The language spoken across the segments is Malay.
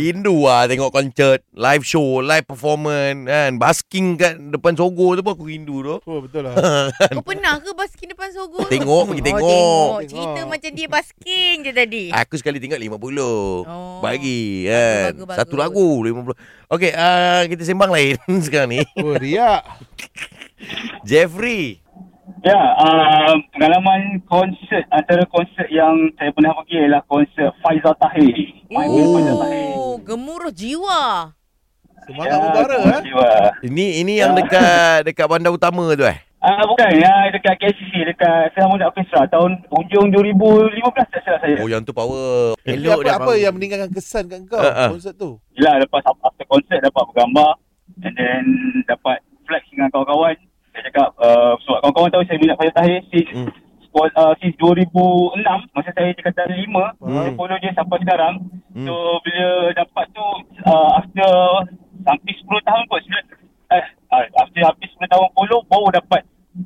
Rindu lah tengok concert, live show, live performance kan. Basking kat depan Sogo tu pun aku rindu tu. Oh betul lah. Kau pernah ke basking depan Sogo? tu? Tengok, Ah. pergi Oh, tengok. Oh, cerita Tengok. macam dia basking je tadi. Aku sekali tengok 50. Oh. Oh. Bagi kan. Bagus, bagus, Satu bagus. lagu 50. Okey, uh, kita sembang lain sekarang ni. Oh riak. Jeffrey. Ya, uh, pengalaman konsert antara konsert yang saya pernah pergi ialah konsert Faizal Tahir. Main Oh. Faizal Tahir. Ya, Oh, gemuruh jiwa. Semangat Ya. mengudara eh. eh? Ini ini yang dekat dekat bandar utama tu eh. Ah bukan, ya, dekat KCC, dekat Selama Nak Orchestra lah, tahun hujung 2015 tak salah saya. Oh yang tu power. Tapi Elok apa, dia Ah. apa power. yang meninggalkan kesan kat kau Ah, ah. konsert tu? Yelah, lepas after konsert dapat bergambar and then dapat flex dengan kawan-kawan. Saya cakap, uh, sebab kawan-kawan tahu saya minat Faizal Tahir since, Hmm. sekolah- uh, since 2006, masa saya dekatan 5, saya Hmm. follow dia sampai sekarang. Hmm. So bila dapat tu uh, after hampir 10 tahun kot sebenarnya eh uh, after hampir 10 tahun follow baru dapat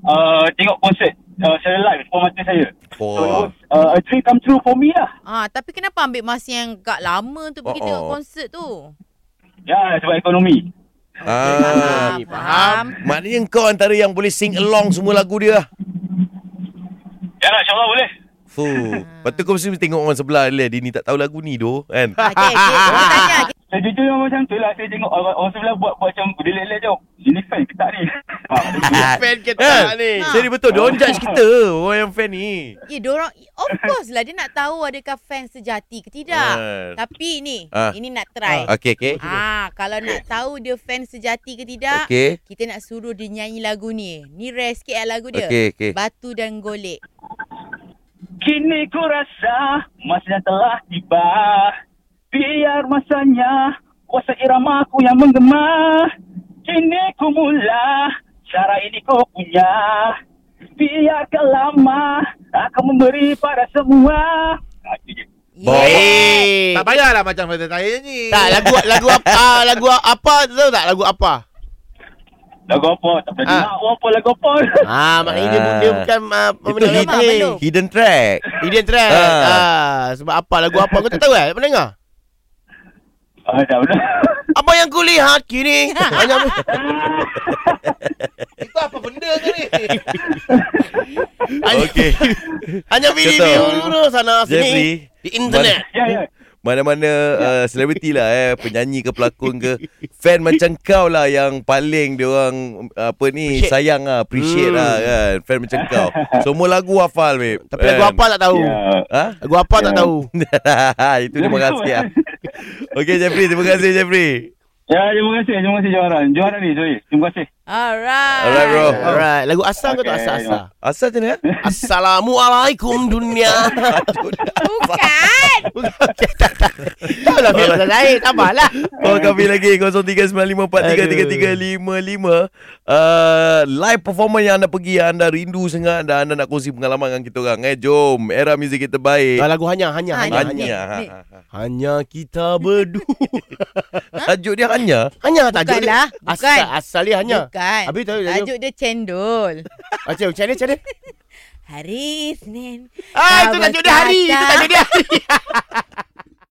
uh, tengok konsert uh, secara live depan mata saya. So it Oh. was, uh, a dream come true for me lah. Ah, tapi kenapa ambil masa yang agak lama untuk pergi Oh, tengok oh. konsert tu? Ya sebab ekonomi. Ah. Faham, faham. Maknanya kau antara yang boleh sing along semua lagu dia. Ya lah insyaAllah boleh. Fuh. Ah. Lepas tu kau mesti tengok orang sebelah dia, dia ni tak tahu lagu ni doh kan. Ah, Okay, okay. Kita tanya. Saya jujur memang macam tu lah. Saya tengok orang, orang sebelah buat, buat macam delay-delay je. Ini fan ke tak ni? Ha, Ah. Fan ke tak ni? Ha. Jadi Eh, betul, don't judge kita orang yang fan ni. Ya, dorang of course lah dia nak tahu adakah fans sejati ke tidak. Ah. Tapi ni, Ah. ini nak try. Okey okey. Ya. Ah, kalau nak tahu dia fans sejati ke tidak, Okey. kita nak suruh dia nyanyi lagu ni. Ni rare sikit lah lagu dia. Okey okey. Batu dan golek. Kini ku rasa masanya telah tiba Biar masanya kuasa irama ku yang menggema Kini ku mula cara ini kau punya Biar lama aku memberi pada semua Ah, itu je. ya. Tak payahlah macam Faizal Tahir ni. Tak lagu lagu apa ah, lagu apa tu tahu tak lagu apa? Lagu apa? Tak pernah Ah. dengar awak apa lagu apa Ah maknanya dia, Ah. dia bukan ah, Itu pemenang Belum, DJ. belum. Hidden track. Dia track. Ah. Ah sebab apa lagu apa kau tak tahu eh? Pernah dengar? Ah, tak pernah Apa yang kulihat kini? Hanya Itu apa benda tu ni? hanya, Okey. hanya video dulu sana sini Jeffrey, di internet. Ya, ya mana-mana uh, selebriti lah eh, penyanyi ke pelakon ke, fan macam kau lah yang paling dia orang uh, apa ni Appreciate. sayang lah, appreciate Hmm. lah kan, fan macam kau. Semua lagu hafal babe. Tapi lagu Kan? apa tak tahu. Ya Ha? Lagu apa tak Ya. tahu. Itu terima kasih lah. Okey Jeffrey, terima kasih Jeffrey. Ya, terima kasih, terima kasih Joharan Joharan ni, sorry, terima kasih Alright. Alright bro. Alright, lagu asal kau tak asal Okay. asal. Asal macam mana? Assalamualaikum dunia. Bukan. Tahu lah Faizal Tahir, sabarlah. Call kami lagi 0395433355 uh, Live performance yang anda pergi Yang anda rindu sangat Dan anda nak kongsi pengalaman dengan kita orang Eh jom Era muzik kita Ah, baik lagu hanya hanya Ah, hanya hanya. Hanya Ha, Ni. Hanya kita berdua. Tajuk dia hanya Hanya tajuk Bukanlah, dia. Asal bukan. asal dia hanya. Bukan. Habis tahu tajuk. Tajuk dia cendol. Macam macam mana Ah, macam mana? Hari Isnin. Ah, itu tajuk dia hari. Itu tajuk dia hari.